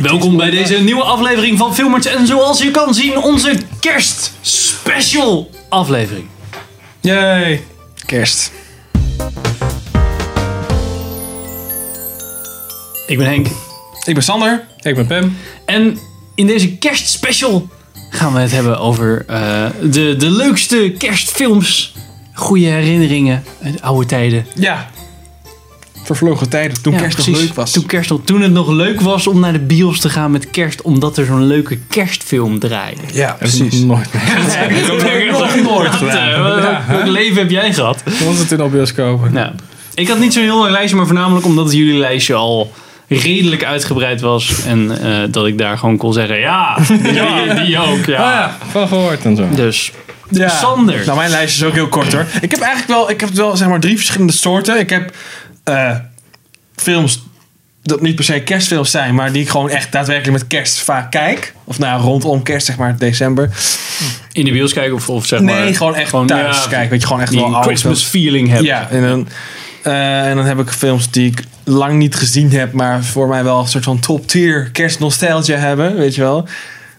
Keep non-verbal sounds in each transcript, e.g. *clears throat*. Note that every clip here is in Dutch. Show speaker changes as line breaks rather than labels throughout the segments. Welkom bij deze nieuwe aflevering van Filmerts. En zoals je kan zien, onze kerstspecial aflevering.
Yay! Kerst.
Ik ben Henk.
Ik ben Sander. Ik ben Pam.
En in deze kerstspecial gaan we het hebben over eh, de, de leukste kerstfilms. Goede herinneringen, uit oude tijden.
Ja. Vervlogen tijden toen
Ja,
kerst nog
precies.
leuk was.
Toen, kerst nog, toen het nog leuk was om naar de bios te gaan met kerst, omdat er zo'n leuke kerstfilm draaide.
Ja, precies.
Nooit meer.
Dat heb ik nog nooit gedaan.
Eh, wat- Welk leven heb jij gehad?
Toen was het in al bioscopen.
Nou, ik had niet zo'n heel lang lijstje, maar voornamelijk omdat het jullie lijstje al redelijk uitgebreid was. En eh, dat ik daar gewoon kon zeggen, ja, die, die ook, ja.
Ah,
Van gehoord en zo.
Dus,
ja.
Sander.
Nou, mijn lijstje is ook heel kort hoor. Ik heb eigenlijk wel, ik heb wel zeg maar drie verschillende soorten. Ik heb eh, films dat niet per se kerstfilms zijn, maar die ik gewoon echt daadwerkelijk met kerst vaak kijk. Of nou, rondom kerst, zeg maar, december.
in de bios kijken of, of zeg maar...
Nee, gewoon echt thuis
ja,
kijken. Weet je, gewoon echt
Die
wel oude films.
Christmas feeling hebben.
Ja, en dan, eh, en dan heb ik films die ik lang niet gezien heb, maar voor mij wel een soort van top tier kerstnosteltje hebben, weet je wel.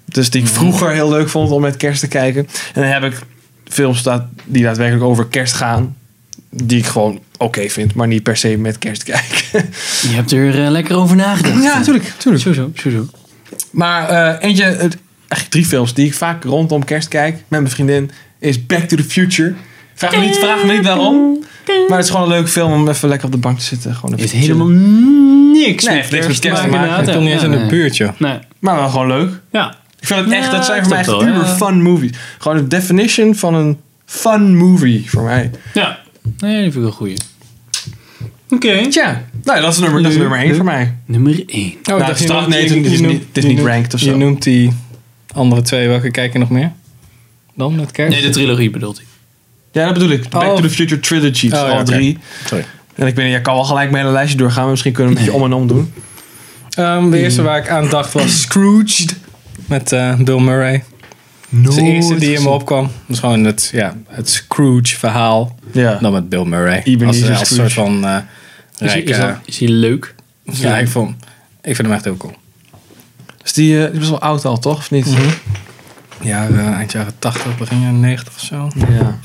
Dus die ik vroeger heel leuk vond om met kerst te kijken. En dan heb ik films dat, die daadwerkelijk over kerst gaan, die ik gewoon oké vind, maar niet per se met kerst kijken.
Je hebt er eh, lekker over nagedacht.
*laughs* ja, natuurlijk, natuurlijk.
Sowieso, sowieso.
Maar eh, eentje, het, eigenlijk drie films die ik vaak rondom kerst kijk met mijn vriendin, is Back to the Future. Vraag me niet, vraag me niet waarom. Maar het is gewoon een leuke film om even lekker op de bank te zitten. Gewoon
Er
even
heeft
te chillen.
helemaal niks
Nee,
met
heeft niks
kerst
met kerst te maken.
inderdaad,
Ik
ja.
kon niet eens
Ja,
in de
nee.
buurt, joh.
Nee,
Maar wel gewoon leuk.
ja.
Ik vind het echt,
Ja,
dat zijn voor mij echt
klopt wel,
uber
ja.
fun movies. Gewoon de definition van een fun movie voor mij.
Ja. Nee, die vind ik wel goed. Oké.
Tja, nou, dat is nummer, dat is nummer 1 voor mij.
Nummer 1.
Oh,
Nou, het is toch- nee, het is niet- het is niet- het is niet ranked of zo.
Je noemt die andere twee. Welke kijken nog meer? Dan met kerst?
Nee, de trilogie bedoelt hij.
Ja, dat bedoel ik. Back
Oh.
to the Future Trilogy. Dus
Oh, ja,
al
oké.
drie.
Sorry.
En ik ben, jij kan wel gelijk mijn hele lijstje doorgaan. Maar misschien kunnen we een beetje om en om doen.
Ehm, de eerste waar ik aan dacht was
Scrooged.
met eh, Bill Murray. Dat is de eerste die in me opkwam. Dat is gewoon het, ja, het Scrooge verhaal.
Ja.
Dan met Bill Murray.
Ebenezer
als, als
Scrooge.
soort van eh
Is, hij-
rijk,
is, dat- is hij leuk?
eh, rijk van. Ik vind hem echt heel cool.
Dus die, eh, die was wel oud al, toch? Of niet?
Ja, eh, eind jaren 80, begin jaren 90 of zo.
Ja.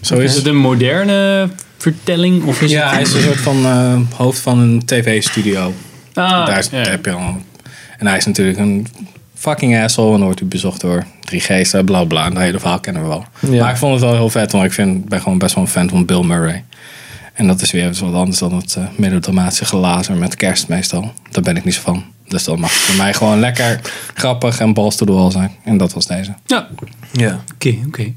Zo is
Oh, Is
het.
het een moderne vertelling? Of is
Ja,
het...
hij is een soort van eh, hoofd van een tv-studio.
Ah,
Daar is-
ja.
heb je al. En hij is natuurlijk een fucking asshole en wordt u bezocht door 3G's, bla bla. Dat hele verhaal kennen we wel.
Ja.
Maar ik vond het wel heel vet, want ik vind, ben gewoon best wel een fan van Bill Murray. En dat is weer eens wat anders dan het eh melodramatische glazen met kerst meestal. Daar ben ik niet zo van. Dus dat mag voor mij gewoon lekker grappig en balls to the wall zijn. En dat was deze.
Ja,
ja.
oké, oké.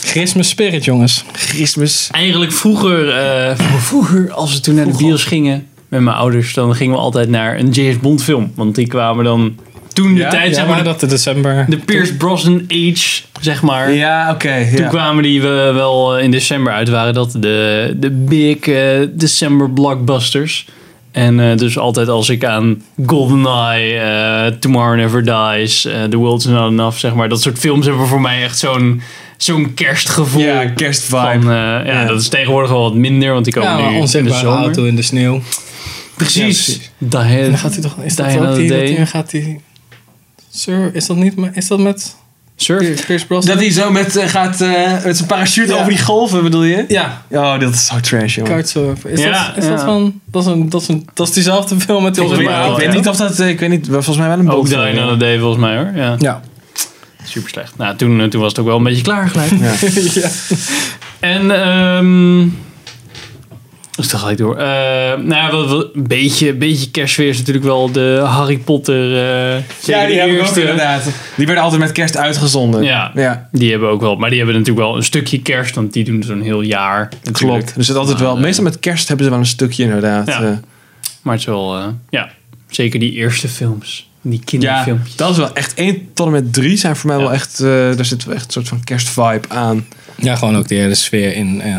Christmas Spirit, jongens.
Christmas.
Eigenlijk vroeger, eh, vroeger, als we toen naar de bios gingen met mijn ouders, dan gingen we altijd naar een James Bond film. Want die kwamen dan toen de tijd, zeg maar, de,
dat de december...
de Pierce Brosnan age, zeg maar.
Ja, oké.
Toen
ja.
kwamen die we wel eh, in december uit, waren dat de, de big eh, december blockbusters. En eh, dus altijd als ik aan GoldenEye, eh, Tomorrow Never Dies, eh, The World's Not Enough, zeg maar. Dat soort films hebben voor mij echt zo'n zo'n kerstgevoel.
Ja, kerstvibe.
Van, eh, ja,
Ja.
dat is tegenwoordig wel wat minder, want die komen
Ja, maar
nu in de
onzichtbare
zomer.
auto in de sneeuw.
Precies.
Ja, precies.
Die Hard-
En dan gaat hij toch... Is dat
Die
ook
Another
die... Dat
Day.
die gaat die... Sir, is dat niet... maar Is dat met
Surf.
Pierce Brosnan?
Dat hij zo met, eh, gaat, eh, met zijn parachute
Ja.
over die golven, bedoel je?
Ja.
Oh, dat is zo trash, jongen.
Kartsurf. Is,
Ja,
dat, is
ja.
dat van... Dat is, een, dat, is een, dat is diezelfde film met die
Ik weet,
Volgens mij
ik
wel,
onzichtbare
weet
ja.
niet of dat, eh, ik weet niet, volgens mij wel een
Ook Die
bootfilm, ja.
Another Day volgens mij hoor. Ja,
Ja.
super slecht. Nou, toen, eh, toen was het ook wel een beetje klaar gelijk. *laughs*
ja.
En ehm dus dan ga ik door. Eh, nou ja, wel, wel- een beetje, een beetje kerstsfeer is natuurlijk wel de Harry Potter. eh, zeker
Ja,
de
die hebben we ook
eerste.
inderdaad. Die werden altijd met kerst uitgezonden.
Ja.
ja
Die hebben ook wel, maar die hebben natuurlijk wel een stukje kerst, want die doen zo'n heel jaar. natuurlijk.
klopt. Dus het altijd wel,
Maar, eh,
meestal met kerst hebben ze wel een stukje inderdaad.
Ja.
eh.
Maar het is wel, eh, ja, zeker die eerste films, die
ja,
kinderfilmpjes.
dat is wel echt één tot en met drie zijn voor mij
Ja.
wel echt, eh, daar zit wel echt een soort van kerstvibe aan.
Ja, gewoon ook de hele sfeer in... eh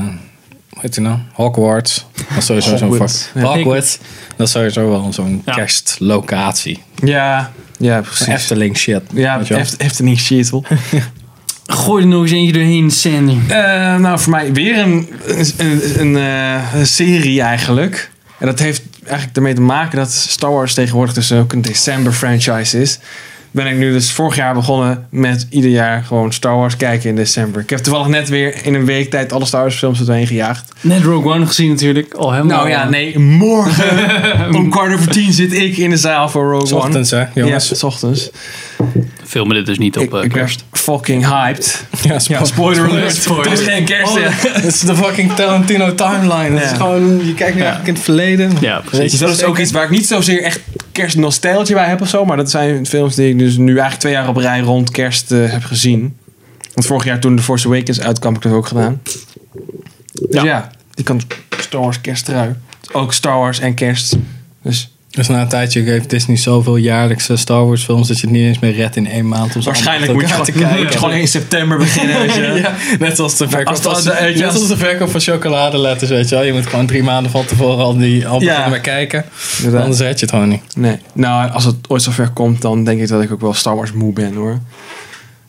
hoe heet die nou? Hogwarts. Dat is sowieso zo'n...
Hogwarts.
voor- Hogwarts. Dat is sowieso wel zo'n
Ja.
kerstlocatie.
Ja, ja precies.
Efteling shit.
ja,
weet je wel.
Eft- Efteling shit. hoor.
Gooi er nog eens eentje doorheen, Sandy.
Eh, nou, voor mij weer een, een, een, een, eh, een serie eigenlijk. En dat heeft, eigenlijk ermee te maken dat Star Wars tegenwoordig dus ook een december franchise is. Ben ik nu dus vorig jaar begonnen met ieder jaar gewoon Star Wars kijken in december. Ik heb toevallig net weer in een week tijd alle Star Wars films er doorheen gejaagd.
Net Rogue One gezien natuurlijk. Al helemaal.
Nou ja, nee, morgen *laughs* om kwart over tien zit ik in de zaal voor Rogue One.
Ochtends, hè, jongens.
Ja, s ochtends.
Filmen dit dus niet op
Ik,
eh,
ik ben
kerst.
fucking hyped.
Ja, spo-
Ja,
*laughs*
spoiler Oh, alert.
Spoiler.
Het is geen kerst, hè.
Het is de fucking Tarantino timeline. Dat
Ja.
is gewoon, je kijkt nu eigenlijk in het verleden.
Ja,
Dus
precies.
dat is ook iets waar ik niet zozeer echt kerstnostalgie bij heb of zo. Maar dat zijn films die ik dus nu eigenlijk twee jaar op rij rond kerst eh, heb gezien. Want vorig jaar toen The Force Awakens uitkwam, heb ik dat ook gedaan. Dus ja,
Ja.
die kan Star Wars kersttrui. Ook Star Wars en kerst. Dus
Dus na een tijdje geeft Disney zoveel jaarlijkse Star Wars films dat je het niet eens meer redt in één maand. Om ze
waarschijnlijk moet
allemaal
je,
met
gewoon,
elkaar *laughs*
moet je gewoon 1 september beginnen. weet je.
Ja, net zoals de verkoop,
Als dat-
van,
eh, ja,
net
als-
zoals de verkoop van chocoladeletters, weet je wel. Je moet gewoon drie maanden van tevoren al die al
Ja.
beginnen met kijken.
Inderdaad.
Anders red je het gewoon niet.
Nee. Nou, als het ooit zover komt, dan denk ik dat ik ook wel Star Wars moe ben hoor.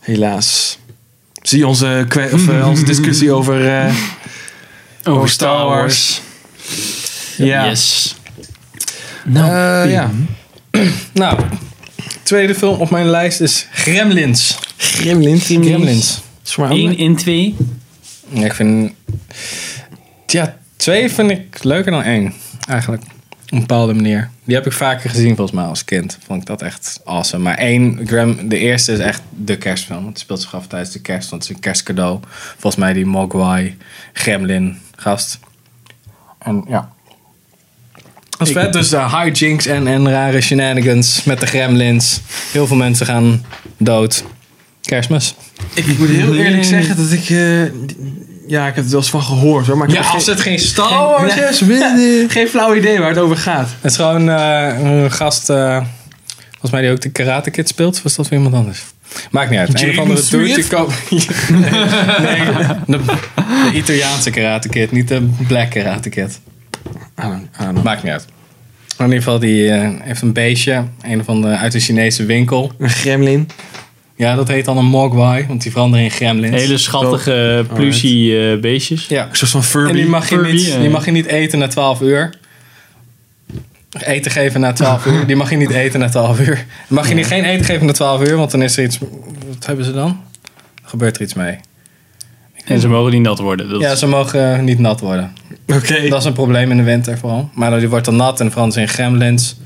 Helaas. Zie onze, kwe- of, eh, onze discussie over, eh, over Star Wars. Ja.
Yes. Nou,
Eh, ja.
Nou, tweede film op mijn lijst is Gremlins.
Gremlins.
Gremlins.
Is voor mij ook
1
leuk.
in 2.
Ja, ik vind... Ja, twee vind ik leuker dan één. Eigenlijk. Op een bepaalde manier. Die heb ik vaker gezien volgens mij als kind. Vond ik dat echt awesome. Maar één, Grem, de eerste is echt de kerstfilm. Want het speelt zich af tijdens de kerst. Want het is een kerstcadeau. Volgens mij die Mogwai Gremlin gast. En ja. Dat is vet. Dus de hijinks en, en rare shenanigans met de gremlins. Heel veel mensen gaan dood. Kerstmis.
Ik moet heel eerlijk zeggen dat ik... eh, d- ja, ik heb er wel eens van gehoord hoor. Maar ik
Ja,
heb geen-
als het geen
geen-
Star Wars
nee, *laughs*
is,
geen flauw idee waar het over gaat.
Het is gewoon eh, een gast, eh, volgens mij die ook de Karate Kid speelt. Of was dat weer iemand anders? Maakt niet uit. een of andere dude die koopt... *laughs* nee, nee, de, de Italiaanse Karate Kid, niet de Black Karate Kid. Maakt niet uit. Maar in ieder geval, die eh, heeft een beestje. Een van de, uit een Chinese winkel.
Een gremlin.
Ja, dat heet dan een Mogwai, want die veranderen in gremlins.
Hele schattige plushie eh, beestjes.
Ja,
Een soort van Furby.
En die mag, je
Furby,
niet,
ja.
die mag je niet eten na 12 uur. Eten geven na 12 uur. Die mag je niet eten na 12 uur. Mag je niet geen eten geven na 12 uur, want dan is er iets. Wat hebben ze dan? Er gebeurt er iets mee.
En ze mogen niet nat worden. Dat
Ja,
is-
ze mogen eh, niet nat worden.
Oké.
Dat is een probleem in de winter vooral. Maar die wordt dan nat en verandert ze in gremlins.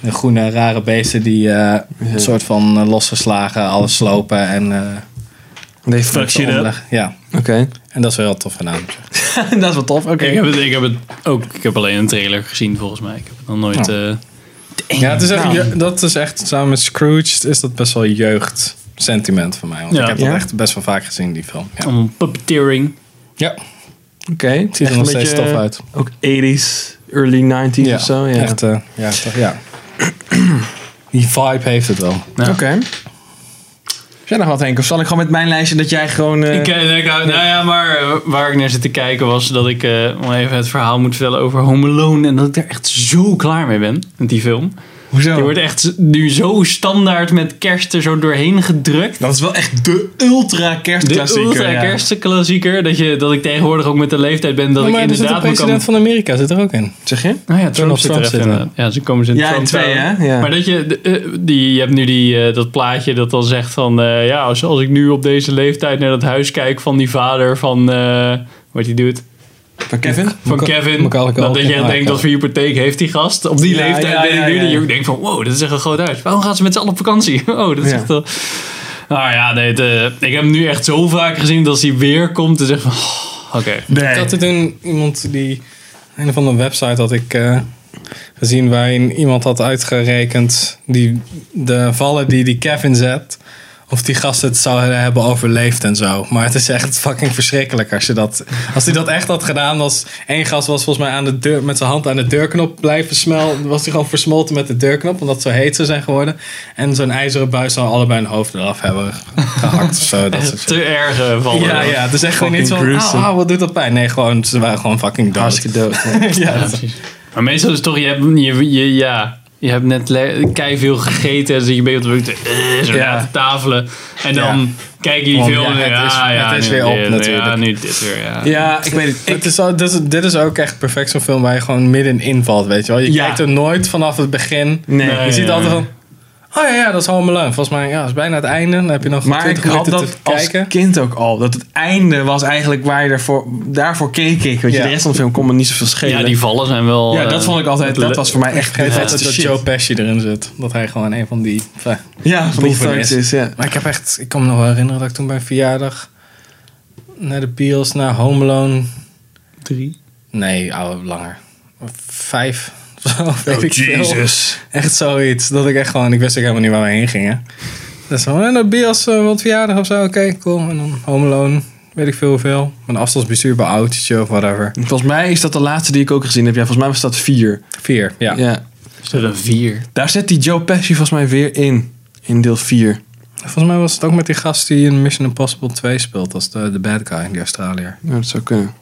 De groene, rare beesten die eh, een soort van eh, losgeslagen, alles slopen en. eh,
Nee, fuck
moeten
shit up.
omleggen. Ja,
Oké.
en dat is wel heel tof gedaan. op zich.
*laughs* dat is wel tof. Oké.
Ik heb, het, ik heb het ook. Ik heb alleen een trailer gezien volgens mij. Ik heb het nog nooit. eh,
Ja, het is echt,
Nou.
je- dat is echt, samen met Scrooge is dat best wel jeugdsentiment voor mij. Want
Ja.
ik heb dat
Ja?
echt best wel vaak gezien, die film. Ja,
allemaal puppeteering.
ja
Oké.
het ziet er nog steeds tof uit.
eh, Ook 80s, early 90s of zo. Ja.
Echt, eh, ja, toch, ja. *clears throat* Die vibe heeft het wel.
Ja.
Oké. Heb jij nog wat, Henk? Of zal ik gewoon met mijn lijstje dat jij gewoon... eh,
Ik, eh, ik hou- nou ja, maar eh, waar ik naar zit te kijken was dat ik eh, nog even het verhaal moet vertellen over Home Alone. En dat ik daar echt zo klaar mee ben met die film.
hoezo?
Die wordt echt nu zo standaard met kerst er zo doorheen gedrukt.
Dat is wel echt de ultra
De
kerstklassieker.
ultra
ja.
kerstklassieker. Dat, je, dat ik tegenwoordig ook met de leeftijd ben dat
maar
ik
er zit de
inderdaad me kan...
president van Amerika zit er ook in.
Zeg je?
Nou ja, Trump
Donald
zit er
Trump
even
zit er.
inderdaad. Ja, ze komen ze in
Ja, in
Trump
twee,
Tower.
hè? Ja.
Maar dat je, de- eh, die, je hebt nu die, eh, dat plaatje dat dan zegt van... eh, ja, als, als ik nu op deze leeftijd naar dat huis kijk van die vader van... eh, wat die doet?
Van Kevin?
Van
Maca-
Kevin.
Macaulay
dan dat
Culkin.
je
Ah,
denkt,
ja.
wat voor hypotheek heeft die gast? Op die
Ja,
leeftijd
ja,
ben ik
ja,
nu.
ja,
dat je
ja.
ook denkt van, wow, dat is echt een groot huis. Waarom gaan ze met z'n allen op vakantie? *laughs* Oh, dat is
Ja.
echt wel... Nou ja, nee, het, eh, ik heb hem nu echt zo vaak gezien dat als hij weer komt, dan zeg ik van... oh, Oké.
Ik had er toen iemand die... Een van de website had ik eh, gezien waarin iemand had uitgerekend... Die, de vallen die die Kevin zet... Of die gast het zou hebben overleefd en zo. Maar het is echt fucking verschrikkelijk als je dat... Als hij dat echt had gedaan, was... één gast was volgens mij aan de deur, met zijn hand aan de deurknop blijven smelten. Was hij gewoon versmolten met de deurknop, omdat het zo heet zou zijn geworden. En zo'n ijzeren buis zou allebei een hoofd eraf hebben gehakt of zo. Dat soort shit.
Te erg eh, van...
Ja, ja, het is echt gewoon niet
Fucking
van, ah,
gruesome.
ah, wat doet dat pijn? Nee, gewoon, *laughs* ze waren gewoon fucking dood.
dood.
ja,
Maar meestal is het toch, je hebt, je, je, ja, je hebt net le- kei veel gegeten. Dus je bent op de eh, zo
Ja.
na te tafelen. En dan
Ja.
kijken jullie
Want
veel.
ja, het
ja,
is-
ja,
het is
nu
weer op
dit, Ja,
natuurlijk.
nu dit weer, ja.
Ja, ik weet het.
Het is al, dit, is, dit is ook echt perfect zo'n film waar je gewoon midden invalt, weet je wel. Je
Ja.
kijkt er nooit vanaf het begin.
nee.
Nee.
Je ziet altijd van, oh ja, ja dat is Home Alone. Volgens mij ja, dat is bijna het einde. Dan heb je nog
Maar ik
20
had
minuten
dat
te
als
kijken.
kind ook al. Dat het einde was eigenlijk waar je daarvoor, daarvoor keek ik. Weet je,
Ja.
de rest van de film kon me niet zoveel schelen.
Ja, die vallen zijn wel...
Ja, dat
eh,
vond ik altijd. Dat was voor mij echt
Het
de
feit dat
vetste shit.
Joe Pesci erin zit. Dat hij gewoon een van die... eh, enfin,
Ja, van die
boeven
thuis
is.
is. Ja.
Maar ik heb echt, ik kan me nog wel herinneren dat ik toen bij een verjaardag naar de Beals, naar Home Alone.
Drie.
Nee, ouwe, langer. Vijf. *laughs* Zo,
Oh,
Oh,
weet ik veel. Echt zoiets. Dat ik echt gewoon, ik wist ook helemaal niet waar we heen gingen. Dus van, eh, naar de Beals, eh, wat verjaardag of zo. Oké, cool. En dan Home Alone, weet ik veel hoeveel. Mijn afstandsbestuur bij autootje of whatever.
Volgens mij is dat de laatste die ik ook gezien heb. Ja, volgens mij was dat vier.
Vier, ja.
Ja.
Is dat een vier?
Daar zit die Joe Pesci volgens mij weer in. In deel 4.
Volgens mij was het ook met die gast die in Mission Impossible 2 speelt. als de, de bad guy, die Australiër.
Ja, dat zou kunnen.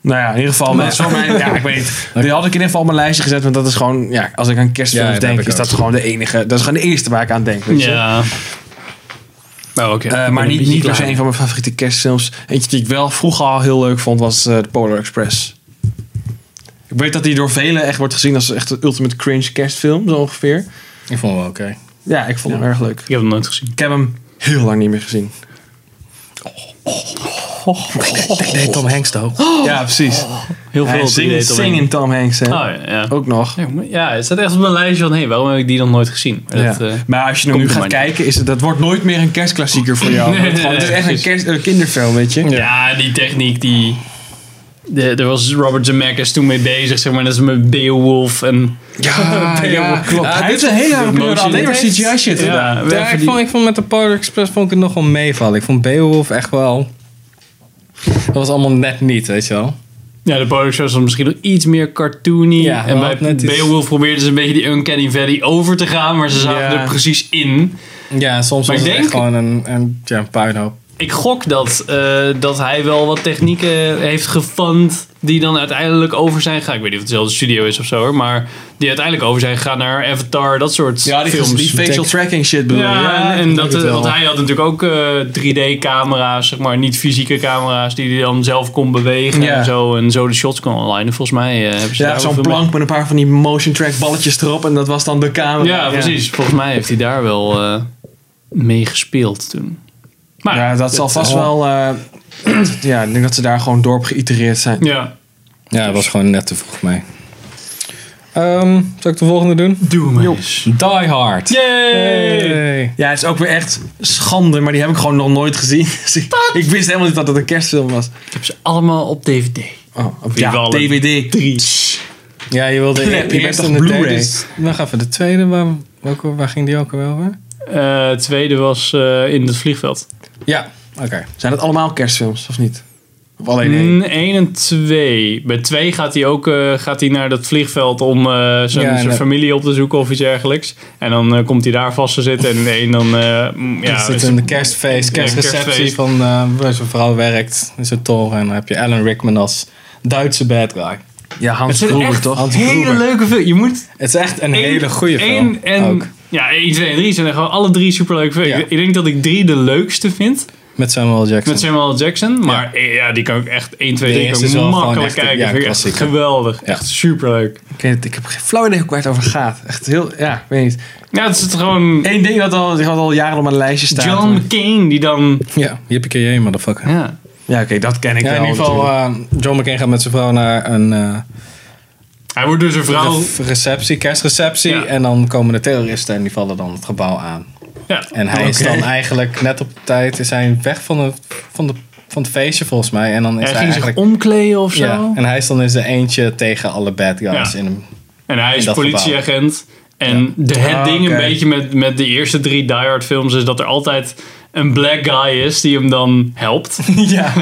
Nou ja, in ieder geval. dat is voor mij, ja, ik weet
*laughs*
het. Die had ik in ieder geval op mijn lijstje gezet. Want dat is gewoon, ja, als ik aan kerstfilms
Ja, dat
denk,
heb ik
is dat
ook.
gewoon de enige. Dat is gewoon de eerste waar ik aan denk. Weet je?
Ja. Maar Oh, oké.
Eh,
ik ben
maar
een
niet,
beetje
niet per se
klaar.
een van mijn favoriete kerstfilms. Eentje die ik wel vroeger al heel leuk vond was eh, de Polar Express. Ik weet dat die door velen echt wordt gezien als echt een ultimate cringe kerstfilm, zo ongeveer.
Ik vond hem wel oké.
Ja, ik vond hem erg leuk.
Ik heb hem nooit gezien.
Ik heb hem heel lang niet meer gezien.
Oh,
Nee, Tom Hanks toch?
Ja, precies.
Heel veel
Hij
op die
zingt
date alleen.
zing in Tom Hanks, hè?
Oh, ja, ja.
Ook nog.
Ja, maar- Ja, het staat echt op mijn lijstje van, hé, waarom heb ik die nog nooit gezien? Maar
Ja.
dat, eh,
maar als je hem
komt
nu
er
gaat
maar niet.
kijken, is het, dat wordt nooit meer een kerstklassieker voor
*laughs*
jou.
Nee,
Het gewoon- het is
nee,
echt een
precies.
kerst, eh, kinderfilm, weet je?
ja. die techniek, die... De, er was Robert Zemeckis toen mee bezig, zeg maar. Dat is met Beowulf en... *laughs*
Ja,
ja,
klopt.
klopt.
Hij heeft een hele lange
motion
periode alleen maar
detects.
CGI shit
Ja.
gedaan.
we
Ja,
hebben
ik
die-
vond, ik vond met de Polar Express vond ik het nogal meevallen. Ik vond Beowulf echt wel... Dat was allemaal net niet, weet je wel.
Ja, de Polar Express was misschien nog iets meer cartoony.
Ja,
en
wel,
bij
net iets-
Beowulf probeerden ze een beetje die Uncanny Valley over te gaan, maar ze zaten
Ja.
er precies in.
Ja, soms
Maar
was
ik
het echt
denk-
gewoon een, een, ja, een puinhoop.
Ik gok dat, eh, dat hij wel wat technieken heeft gefund die dan uiteindelijk over zijn gegaan. Ik weet niet of het dezelfde studio is of zo hoor, maar die uiteindelijk over zijn gegaan naar Avatar, dat soort
Ja, die,
films.
die facial
Detect-
tracking shit bedoel je?
Ja,
nee,
en
ik
dat, eh,
denk het
want
wel.
hij had natuurlijk ook eh, 3D-camera's, zeg maar, niet fysieke camera's, die hij dan zelf kon bewegen
Ja.
en zo. En zo de shots kon online. En volgens mij eh, hebben ze
Ja,
daar wel
zo'n
veel mee-
plank met een paar van die motion track balletjes erop en dat was dan de camera.
Ja, precies. Volgens mij heeft hij daar wel eh, mee gespeeld toen. Maar,
Ja, dat zal vast wel... eh, *clears throat* ja, ik denk dat ze daar gewoon door op geïtereerd zijn.
Ja.
Ja, het was gewoon net te vroeg mee. Ehm, zal ik de volgende doen?
Doe maar eens.
Die Hard.
Yay!
Hey.
Ja, het is ook weer echt schande, maar die heb ik gewoon nog nooit gezien. *laughs* Dus ik, ik wist helemaal niet dat het een kerstfilm was.
Ik heb ze allemaal op DVD.
Oh, op
ieder
ja,
geval
DVD.
Ja,
*laughs*
je wilde
Klep, je bent
eerst
toch
en de
Blu-ray?
tweede. is- Nog even, de tweede, waar, welke, waar ging die ook alweer over?
Eh, het tweede was eh, in het vliegveld.
Ja, oké.
Zijn dat allemaal kerstfilms, of niet? Of
Oh,
alleen één?
Mm, 1 en 2. Bij 2 gaat hij ook eh, gaat hij naar dat vliegveld om eh, zijn,
Ja, en
zijn
dat-
familie op te zoeken of iets dergelijks. En dan eh, komt hij daar vast te zitten. En in 1 dan. eh, mm,
Ja,
ja,
zit
is-
in de kerstfeest, kerstreceptie
kerstfeest.
van eh, waar zijn vrouw werkt. In zijn toren. En dan heb je Alan Rickman als Duitse bad guy.
Ja,
het
Hans
zijn
Gruber,
echt
toch?
Hans
hele
Gruber.
leuke film. Je moet
Het is echt een
Eén-
hele goede film.
één En,
ook.
Ja, 1, 2 en 3 zijn gewoon alle drie superleuke films.
Ja.
Ik denk dat ik 3 de leukste vind
Met Samuel L. Jackson.
met Samuel L. Jackson. Maar eh, ja, die kan ik echt 1, 2, 3
De
kan
eerste
ik
is wel gewoon
makkelijk
echt een-
kijken.
ja,
Vind ik echt
klassieker.
geweldig.
Ja.
Echt superleuk.
Ik, weet het, ik heb geen flauw idee hoe waar het over gaat. Echt heel... Ja, ik weet niet.
Ja, het is het gewoon
Eén ding dat al, dat al jaren op mijn lijstje staat.
John McCain die dan...
Ja, yippie motherfucker.
Ja.
Ja, oké, dat ken ik
Ja,
wel.
in ieder geval,
natuurlijk.
eh, John McCain gaat met zijn vrouw naar een eh,
Hij wordt dus een vrouw.
re- receptie, kerstreceptie.
Ja.
En dan komen de terroristen en die vallen dan het gebouw aan.
Ja.
En hij is
Oké.
dan eigenlijk net op tijd is hij weg van, de, van, de, van het feestje volgens mij. En dan is
Hij
hij,
ging zich
eigenlijk...
omkleden of zo.
Ja, en hij is dan in zijn eentje tegen alle bad guys.
Ja.
In hem.
En hij
In
is
dat
politieagent. En de, het
Ah,
ding
oké.
een beetje met, met de eerste drie Die Hard films is dat er altijd een black guy is die hem dan helpt.
*laughs* ja.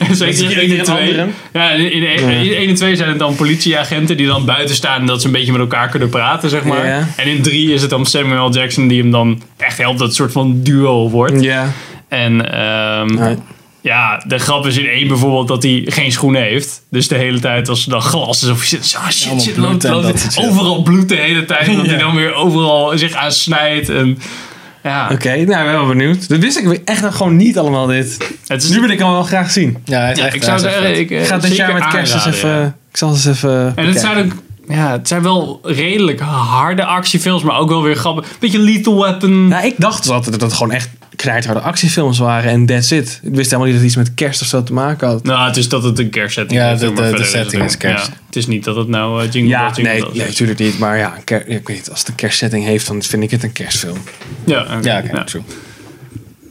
eh, *laughs* Zeker in 1
iedere keer
en
een
2.
andere.
Ja, in, in, in, in 1 en 2 zijn het dan politieagenten die dan buiten staan en dat ze een beetje met elkaar kunnen praten, zeg maar.
Ja.
En in 3 is het dan Samuel L. Jackson die hem dan echt helpt dat het een soort van duo wordt.
Ja.
En ehm,
Ja.
Ja, de grap is in één bijvoorbeeld dat hij geen schoenen heeft. Dus de hele tijd als er dan glas is of je zit, ah, shit,
Allemaal
shit,
bloed
loopt,
en
loopt-
dat soort shit.
overal bloed de hele tijd. En dat hij dan weer overal zich aan snijdt. En, ja,
Oké, nou, ik ben wel benieuwd. Dat wist ik weer echt nog gewoon niet allemaal dit.
het is,
Nu wil ik hem wel graag zien.
Ja, hij is
ja,
echt,
ik zou
hij is echt
zeggen,
vet.
ik eh,
Ik ga dit jaar
zeker
met kerst eens
aanraden,
even...
ja.
Ik zal eens even
En het
bekijken.
zijn ook, ja, het zijn wel redelijk harde actiefilms, maar ook wel weer grappig. Beetje Lethal Weapon.
Nou, ik dacht dus altijd dat het gewoon echt knijterharde actiefilms waren en that's it. Ik wist helemaal niet dat het iets met kerst of zo te maken had.
Nou, het is dat het een kerstsetting
Ja,
is.
de-
maar
de- de
verder het
setting is
ook-
kerst.
ja. het is niet dat het nou eh, Jingle
Ja,
Bells, Jingle
nee,
Bells
nee,
is.
natuurlijk niet. Maar ja, een ker- ik weet niet, als het een kerstsetting heeft, dan vind ik het een kerstfilm.
Ja, oké,
Ja, oké,
ja.
true.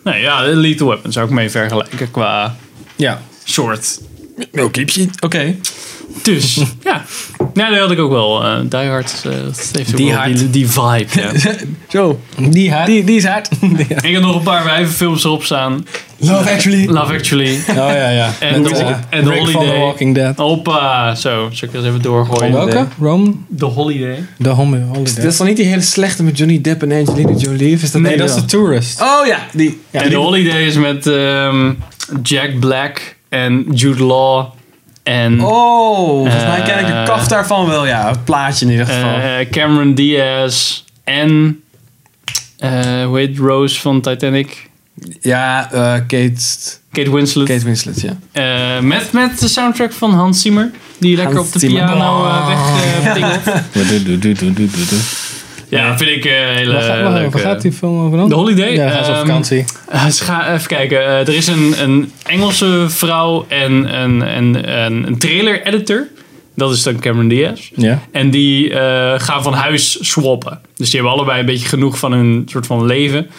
Nee, ja, Lethal Weapon zou ik mee vergelijken qua
Ja,
soort.
No keepje. Oké.
*laughs*
Dus, ja. Ja, dat had ik ook wel. eh die Hard eh, dat heeft ook
Die
wel
Hard.
Die, die vibe, ja.
*laughs*
Zo,
die haat.
die, die is
*laughs*
hard.
Ik heb nog een paar wijvenfilms erop staan.
Love Actually.
Love Actually.
Oh ja, ja.
En
Met,
de-
eh,
en de
Rick van The
Holiday.
Walking Dead.
Hoppa, zo. Zal ik eens even
Van
doorgooien.
welke?
Welke? Rome?
The Holiday.
De Home Holiday.
Dat is dan niet die hele slechte met Johnny Depp en Angelina Jolie? Of is dat
nee,
die
dat is
wel?
de Tourist.
Ah.
Oh ja, die. Ja,
en The
die-
Holiday is met ehm, Jack Black en Jude Law en
Oh, volgens mij ken ik de
Eh.
kaf daarvan wel. Ja, het plaatje in ieder geval.
eh, Cameron Diaz en eh hoe heet Rose van Titanic?
ja, eh, Kate,
Kate Winslet.
Kate Winslet, ja.
Eh, met, met de soundtrack van Hans Zimmer. Die lekker
Hans
op de
Zimmer.
piano eh,
Oh. *laughs*
weg eh, pingelt.
Doe, doe, doe, doe, doe, doe, doe.
Ja, vind ik eh hele
Waar gaat- waar-
leuke-
waar gaat die film over dan?
The Holiday?
eh. Ja, hij is op
Ehm,
vakantie.
Eh, ze gaan- even kijken. Eh, er is een, een Engelse vrouw en een, een, een, een trailer-editor. Dat is dan Cameron Diaz.
Ja.
En die eh, gaan van huis swappen. Dus die hebben allebei een beetje genoeg van hun soort van leven.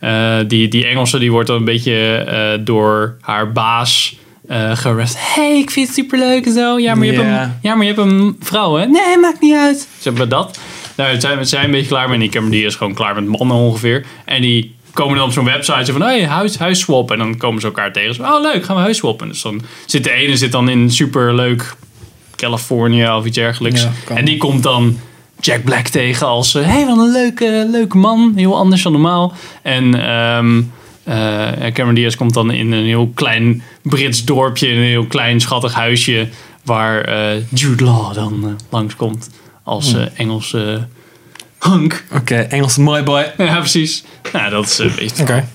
Eh, die, die Engelse die wordt dan een beetje eh, door haar baas eh gerest. hey, ik vind het superleuk en zo. Ja, maar, je hebt
Ja.
een, ja, maar je hebt een vrouw, hè? Nee, maakt niet uit. Ze hebben dat. Nou, het zijn, het zijn een beetje klaar met die Cameron. Die is gewoon klaar met mannen ongeveer. En die komen dan op zo'n website zo van, hey, huis, huis swappen. En dan komen ze elkaar tegen. Zo, oh, leuk, gaan we huis swappen. Dus dan zit de ene zit dan in een superleuk Californië of iets dergelijks.
Ja, kan.
en die komt dan Jack Black tegen als... Hé, hey, wat een leuke, leuke man. Heel anders dan normaal. En ehm, eh, Cameron Diaz komt dan in een heel klein Brits dorpje... in een heel klein schattig huisje... waar eh, Jude Law dan eh, langskomt als
Hmm.
eh, Engelse hunk. *laughs*
Oké, Engels mooi boy.
Ja, precies. Nou, dat is een beetje...
Oké.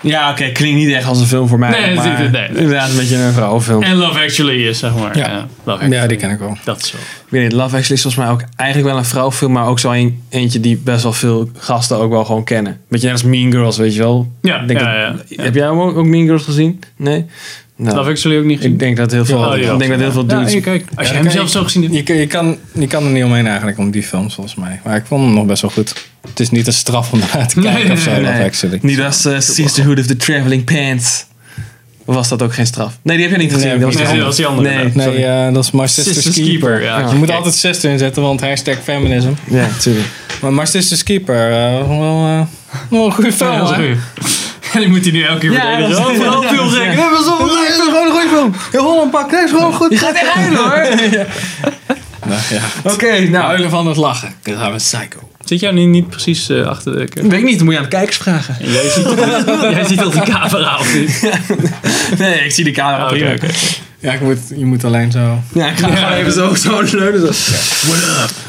Ja, oké, klinkt niet echt als een film voor mij.
Nee,
maar
natuurlijk, nee.
Inderdaad, een beetje een vrouwenfilm.
En Love Actually is, zeg maar.
Ja.
eh, Love Actually.
Ja, die ken ik wel.
Dat is wel.
Ik weet niet, Love Actually is volgens mij ook eigenlijk wel een vrouwfilm, maar ook zo een, eentje die best wel veel gasten ook wel gewoon kennen. Beetje net als Mean Girls, weet je wel.
Ja,
Ik denk
ja,
dat-
ja, ja.
Heb jij hem ook, ook Mean Girls gezien? Nee? Nou,
Love Actually ook niet gezien.
ik denk dat heel veel,
Oh, die
ik
had
denk dat
ze,
heel veel
ja.
dudes...
Ja, kijk, als
Ja,
je
dan
hem
kan
zelf
je-
zo gezien hebt.
Je, kan- je, kan, je kan er niet omheen eigenlijk om die films, volgens mij. Maar ik vond hem nog best wel goed. Het is niet een straf om naar te
Nee,
kijken of zo,
nee,
Love
nee.
Actually.
Niet als eh, Sisterhood of the Traveling Pants. Of was dat ook geen straf? Nee, die heb je niet gezien.
Nee,
dat was
die
Nee,
die
dat was die andere.
Nee.
ja.
Nee,
sorry.
eh, dat is My Sister's,
Sister's
Keeper.
Keeper, Ah, ja.
Je
Ja.
moet
Kijk.
altijd sister inzetten, want hashtag feminism.
andere. Ja, natuurlijk.
Maar My Sister's Keeper, eh, wel, eh, wel een goede film,
Ja, dat is
hè?
goed. *laughs* En ik moet die nu elke keer
Ja,
verdedigen.
dat is-
Overal
ja,
veel
dat is-
zeggen.
ja.
Nee, maar zo-
is gewoon een goede film. Heel Holland pak, dat is gewoon goed.
Je gaat echt huilen hoor. Oké, nou.
Huilen van het lachen. Dan gaan we psycho.
Zit jij nu niet precies eh, achter de
*laughs*
keuken?
Weet ik niet, dan moet je aan de kijkers vragen.
Jij ziet, jij ziet al de camera of niet?
Nee, ik zie de camera
Oké,
prima.
oké.
Ja, ik moet, je moet alleen zo...
Ja, ik ga gewoon even zo, zo leunen. Zo.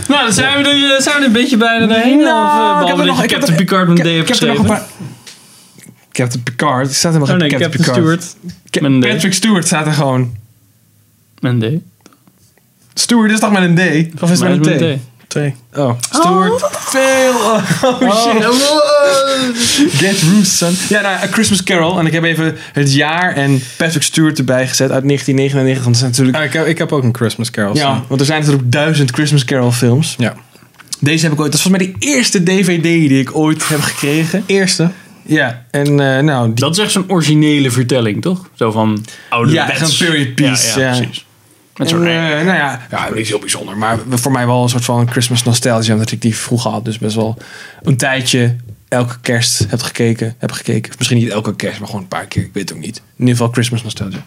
Nou, dan zijn we er, eh, zijn we er een beetje bijna doorheen.
Nou,
of, eh,
ik heb
behalve dat
er nog-
je
ik heb
Captain
er-
Picard met een D
Ik
hebt
heb er nog
geschreven.
een paar... Captain Picard. Er staat helemaal
Oh
geen
nee, Captain Stewart
Ca-
Met een D.
Patrick Stewart staat er gewoon.
met een D.
Stewart is toch met een D? Of is het
Maar
met
is
een T?
Twee.
Oh, Stewart. Veel. oh shit. Get Roots, son. Ja, nou, A Christmas Carol. En ik heb even het jaar en Patrick Stewart erbij gezet uit 1999. Want er zijn natuurlijk...
Ah, ik, heb, ik heb ook een Christmas Carol.
Ja,
staan.
want er zijn natuurlijk duizend Christmas Carol films.
ja.
Deze heb ik ooit... Dat is volgens mij de eerste DVD die ik ooit heb gekregen.
Eerste.
Ja, en eh, nou... Die,
Dat is echt zo'n originele vertelling, toch? Zo van oude
Ja, echt een period piece, ja.
precies. Met
en,
zo'n
eh, nou ja, ja, niet heel bijzonder. Maar voor mij wel een soort van Christmas nostalgie. Omdat ik die vroeger had. Dus best wel een tijdje elke kerst heb gekeken. Heb gekeken. Of misschien niet elke kerst, maar gewoon een paar keer. Ik weet het ook niet. In ieder geval Christmas nostalgie.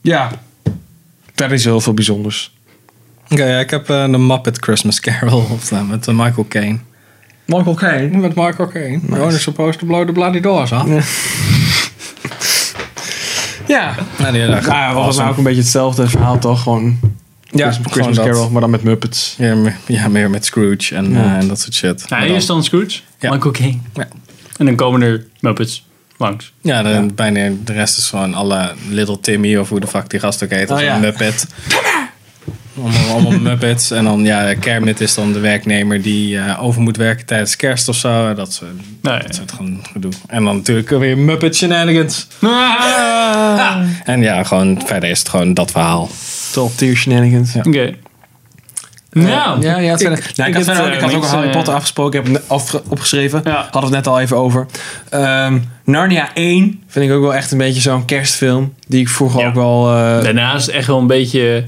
Ja. Daar is heel veel bijzonders.
Oké, ja, ik heb eh, de Muppet Christmas Carol *laughs* opstaan met eh, Michael Caine.
Michael Caine.
Met Michael Caine. Nice. You're supposed to blow the bloody doors, huh?
Ja.
Nou, die hele
Nou, ja, was het nou ook een beetje hetzelfde verhaal toch? Gewoon
Ja,
Christmas,
gewoon
Christmas
dat.
Carol, maar dan met Muppets.
Ja, meer, ja, meer met Scrooge en,
Ja.
eh, en dat soort shit.
Nou,
Maar dan-
eerst dan Scrooge,
Ja.
Michael Caine.
Ja.
En dan komen er Muppets langs.
Ja, de, bijna de rest is gewoon alle Little Timmy of hoe de fuck die gast ook heet. of
Oh, ja.
een Muppet. Allemaal,
*laughs*
allemaal Muppets. En dan, ja, Kermit is dan de werknemer die eh, over moet werken tijdens kerst of zo. Dat soort,
Nou,
dat soort gewoon gedoe. En dan natuurlijk weer Muppet shenanigans.
ja. Ah.
En ja, gewoon verder is het gewoon dat verhaal.
Top tier shenanigans. Ja.
Oké. Nou,
Eh, ja, ja, het zijn-
ik-
nou,
ik
ik, had,
het,
verder ook-
eh,
ik had ook
niks,
Harry
eh,
Potter afgesproken, ik heb het ne- afge- opgeschreven.
Ja.
Hadden we het net al even over. Ehm, Narnia 1 vind ik ook wel echt een beetje zo'n kerstfilm. Die ik vroeger
Ja.
ook wel... eh,
daarnaast echt wel een beetje.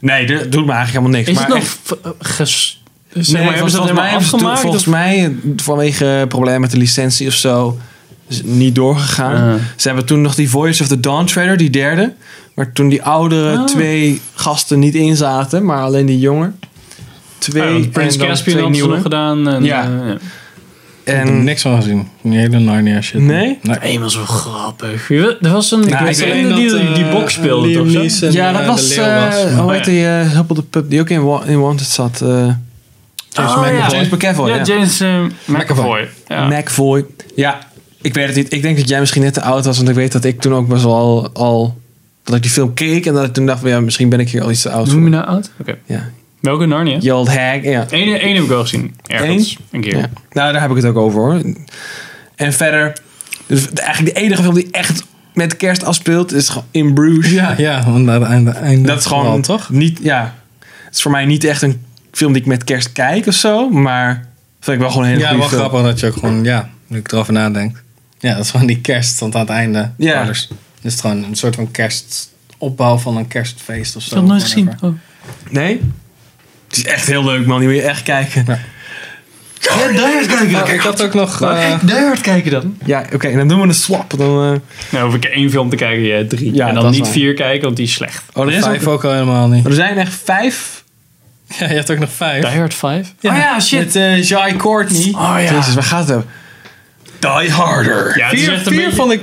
nee, dat doet me eigenlijk helemaal niks.
Is
maar
het nog
echt-
v- eh, ges-
Nee,
zeg maar, hebben
volgens
ze dat
mij
helemaal
hebben ze toen-
afgemaakt?
Volgens
of-
mij, eh, vanwege problemen met de licentie of zo, is het niet doorgegaan.
Ah.
Ze hebben toen nog die Voyage of the Dawn trailer, die derde. Maar toen die oudere
Ah.
twee gasten niet in zaten, maar alleen die jonger.
Ja,
Twee
want Oh, Prince
en dan
Caspian
twee
hadden ze nog
nieuwe.
gedaan. En,
Ja.
eh, ja.
Ik heb
En
niks van gezien. Die hele Narnia shit. Nou,
Nee?
Eén was wel grappig. Je weet- Er was een
ik
ik
weet
ken
alleen
die,
dat,
die,
eh,
box speelde
Liam
toch zo?
Neeson-
ja, dat
eh,
was,
de leeuw was.
eh, hoe
Oh,
heet
ja.
die eh, Huppel de Pup, die ook in, Wa- in Wanted zat. eh,
Oh,
McAvoy.
ja.
James McAvoy,
Ja,
ja.
James eh, McAvoy.
McAvoy.
Ja.
McAvoy. Ja, ik weet het niet. Ik denk dat jij misschien net te oud was, want ik weet dat ik toen ook best wel al, al- dat ik die film keek en dat ik toen dacht van ja, misschien ben ik hier al iets te oud
Noem
Mm.
voor.
je nou oud? Oké.
Ja.
Welke Narnia?
Je old hag, ja.
Eén één heb ik wel gezien. Ergens. Een keer.
ja. Nou, daar heb ik het ook over hoor. En verder, dus eigenlijk de enige film die echt met kerst afspeelt is gewoon In Bruges.
Ja, ja, want aan het einde- einde.
Dat is gewoon
wel, toch?
niet, ja. Het is voor mij niet echt een film die ik met kerst kijk of zo, maar vind ik wel gewoon een hele
Ja,
goede
wel
film.
grappig dat je ook gewoon, ja, nu ik erover nadenk. Ja, dat is gewoon die kerst, want aan het einde.
Ja.
Ja. Dus het is gewoon een soort van kerstopbouw van een kerstfeest of zo.
Ik heb het nooit
whatever.
gezien. Oh.
Nee? Het is echt heel leuk man, die moet je echt kijken.
Ja.
Ja, daar
Maar ik had ook nog. *laughs* eh,
Daar kijken dan.
Ja, oké, dan doen we een swap. Dan, eh,
*laughs* Nou, hoef ik één film te kijken, jij drie.
Ja,
en dan
dat is
niet
waar.
vier kijken, want die is slecht.
Oh, er, is
vijf
ook,
ook al helemaal niet. *laughs*
er zijn echt vijf.
Ja, je hebt ook nog vijf.
Die Hard 5?
Oh ja, shit.
Met eh, Jai Courtney.
Oh ja.
Jezus, dus waar gaat het over? Die Harder.
Ja, het is
vier
echt een
vier
beetje...
vond ik.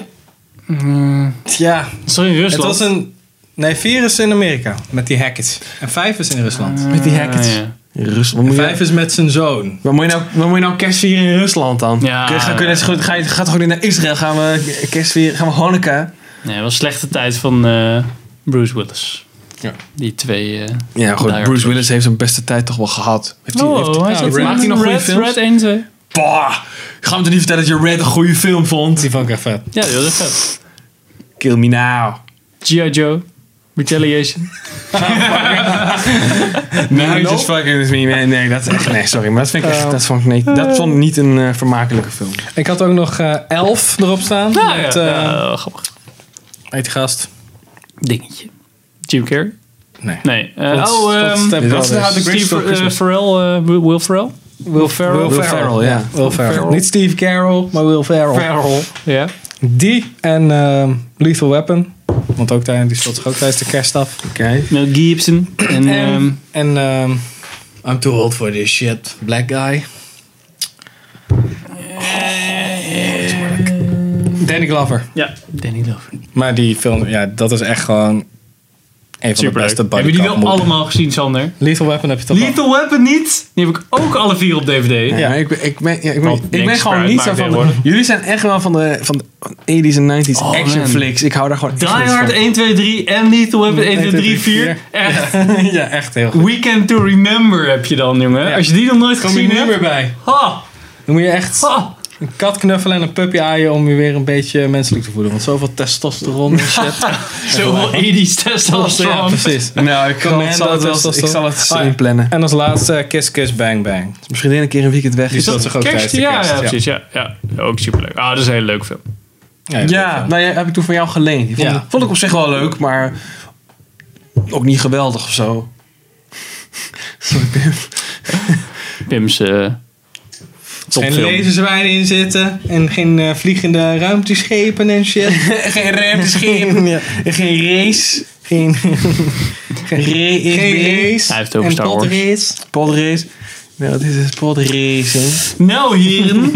Ja,
Sorry,
het
Rusland.
was een. Nee, vier is in Amerika met die hackers. En vijf is in Rusland.
Met die hackers.
Ah, ja.
Rusland. Wat moet,
Vijf
je,
is met zijn zoon.
wat, moet je nou, wat moet je nou kerst vieren in Rusland dan?
Ja.
Kun je- Ga, kun je net zo goed- ga, je, ga toch ook niet naar Israël? Gaan we kerst vieren? Gaan we Hanukkah?
Nee, het was slechte tijd van eh, Bruce Willis.
Ja.
Die twee... eh,
Ja,
goed,
goed. Bruce
Bruce
Willis heeft zijn beste tijd toch wel gehad. Heeft Oh, hij, heeft,
hij
ja,
zit-
Red-
maakt hij nog goede
Red-
films?
Red
1, 2.
bah, ga me toch niet vertellen dat je Red een goede film vond?
Die vond ik echt vet.
Ja, dat is vet.
Kill me now.
G.I. Joe.
*laughs*
Retaliation.
Nee, just fucking with me, man. Nee, dat is echt... Nee, sorry. Maar dat vind ik echt... Dat vond ik, nee, dat vond ik niet een eh, vermakelijke film.
Ik had ook nog eh, elf erop staan.
Ja,
met,
ja.
eh,
ja, wel grappig.
heet die gast?
Dingetje. Jim Carrey?
Nee.
Nee. eh,
Dat is-
oh,
dat is
ehm,
Step
dat is
Brothers.
How the Grinch
Steve
Stole
eh,
Christmas.
Ferrell. eh, Will Ferrell? Will Ferrell.
Will Ferrell.
Ferrell, ja.
Will Ferrell. Niet Steve Carroll, maar Will Ferrell.
Ferrell. Ja.
Die en ehm, Lethal Weapon. Want ook daar, die speelt zich ook tijdens de kerst af.
Oké.
Mel Gibson. En, ehm,
En, en ehm, I'm too old for this shit. Black guy. Danny Glover.
ja. Danny Glover.
Maar die film, ja, dat is echt gewoon een van de
Superleuk.
beste
Hebben jullie
bodycount
wel
movies.
allemaal gezien, Sander?
Lethal Weapon heb je toch al?
Lethal Weapon niet? Die heb ik ook alle vier op DVD.
Ja, maar ik, ben- ik ben, ja, ik ben,
Want
ik
niks
ben gewoon
eruit
niet
maakt
zo van... De,
tegenwoordig.
jullie zijn echt wel van de, van de 80s en 90s
Oh,
action
man.
flicks. Ik hou daar gewoon
Die
echt niet
Hard
*laughs* van.
1, 2, 3 en Lethal Weapon 1, 2, 3, 4. Echt.
*laughs* ja, echt heel goed.
Weekend to Remember heb je dan, jongen.
Ja.
Als je die nog nooit
Kom je
gezien
niet meer
hebt.
bij.
Ha,
Dan moet je echt
ha.
een kat knuffelen en een puppy aaien om je weer een beetje menselijk te voelen. Want zoveel testosteron en shit.
Zoveel 80s
ja,
testosteron.
precies.
*laughs* Nou, ik, kan, ik
Commando,
zal het wel,
testosteron.
ik zal het
Ah, ja.
inplannen.
En als laatste eh, Kiss Kiss Bang Bang.
Dus Misschien een keer een weekend weg.
Die
is.
zat zich ook
Kerst,
tijdens de
ja,
kerst.
ja, precies. Ja, ja. Ook superleuk. Ah, dat is een hele leuke film.
Ja,
Ja, nou ja, heb ik toen van jou geleend. Die Vond,
Ja.
ik- vond ik op zich wel leuk, maar ook niet geweldig of zo. Sorry, Pim.
Pim's eh
geen
topfilm.
laserzwijnen in zitten. En geen eh, vliegende ruimteschepen en *laughs* shit.
Geen remschip.
ja.
Geen race.
Geen,
Re- is
geen
race.
race.
Hij heeft het over
en
Star Wars.
potrace.
Podrace. Nou, dit is podracing.
Nou,
*laughs*
heren.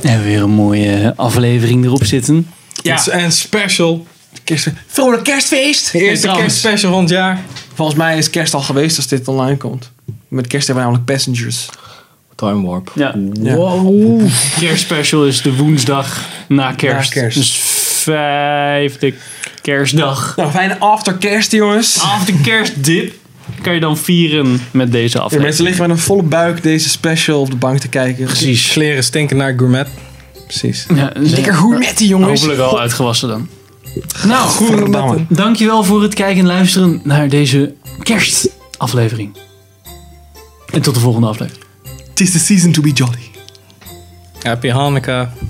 We hebben weer een mooie aflevering erop zitten.
Ja.
En special.
Kerst, vrolijk kerstfeest!
De
Eerste
eerste
kerst.
kerstspecial van het jaar.
Volgens mij is kerst al geweest als dit online komt. Met kerst hebben we namelijk Passengers.
Time Warp.
Ja.
Ja.
Wow. Kerstspecial is de woensdag na kerst.
kerst.
Dus vijfde kerstdag.
Nou, fijne afterkerst, jongens.
Af de kerstdip kan je dan vieren met deze
De
aflevering.
mensen liggen met een volle buik deze special op de bank te kijken.
Precies.
Kleren stinken naar gourmet. Precies.
Ja, dus
Lekker goed met die jongens.
Hopelijk al uitgewassen dan. Nou,
Godverdamme.
dankjewel voor het kijken en luisteren naar deze kerstaflevering. En tot de volgende aflevering.
Tis the season to be jolly.
Happy Hanukkah.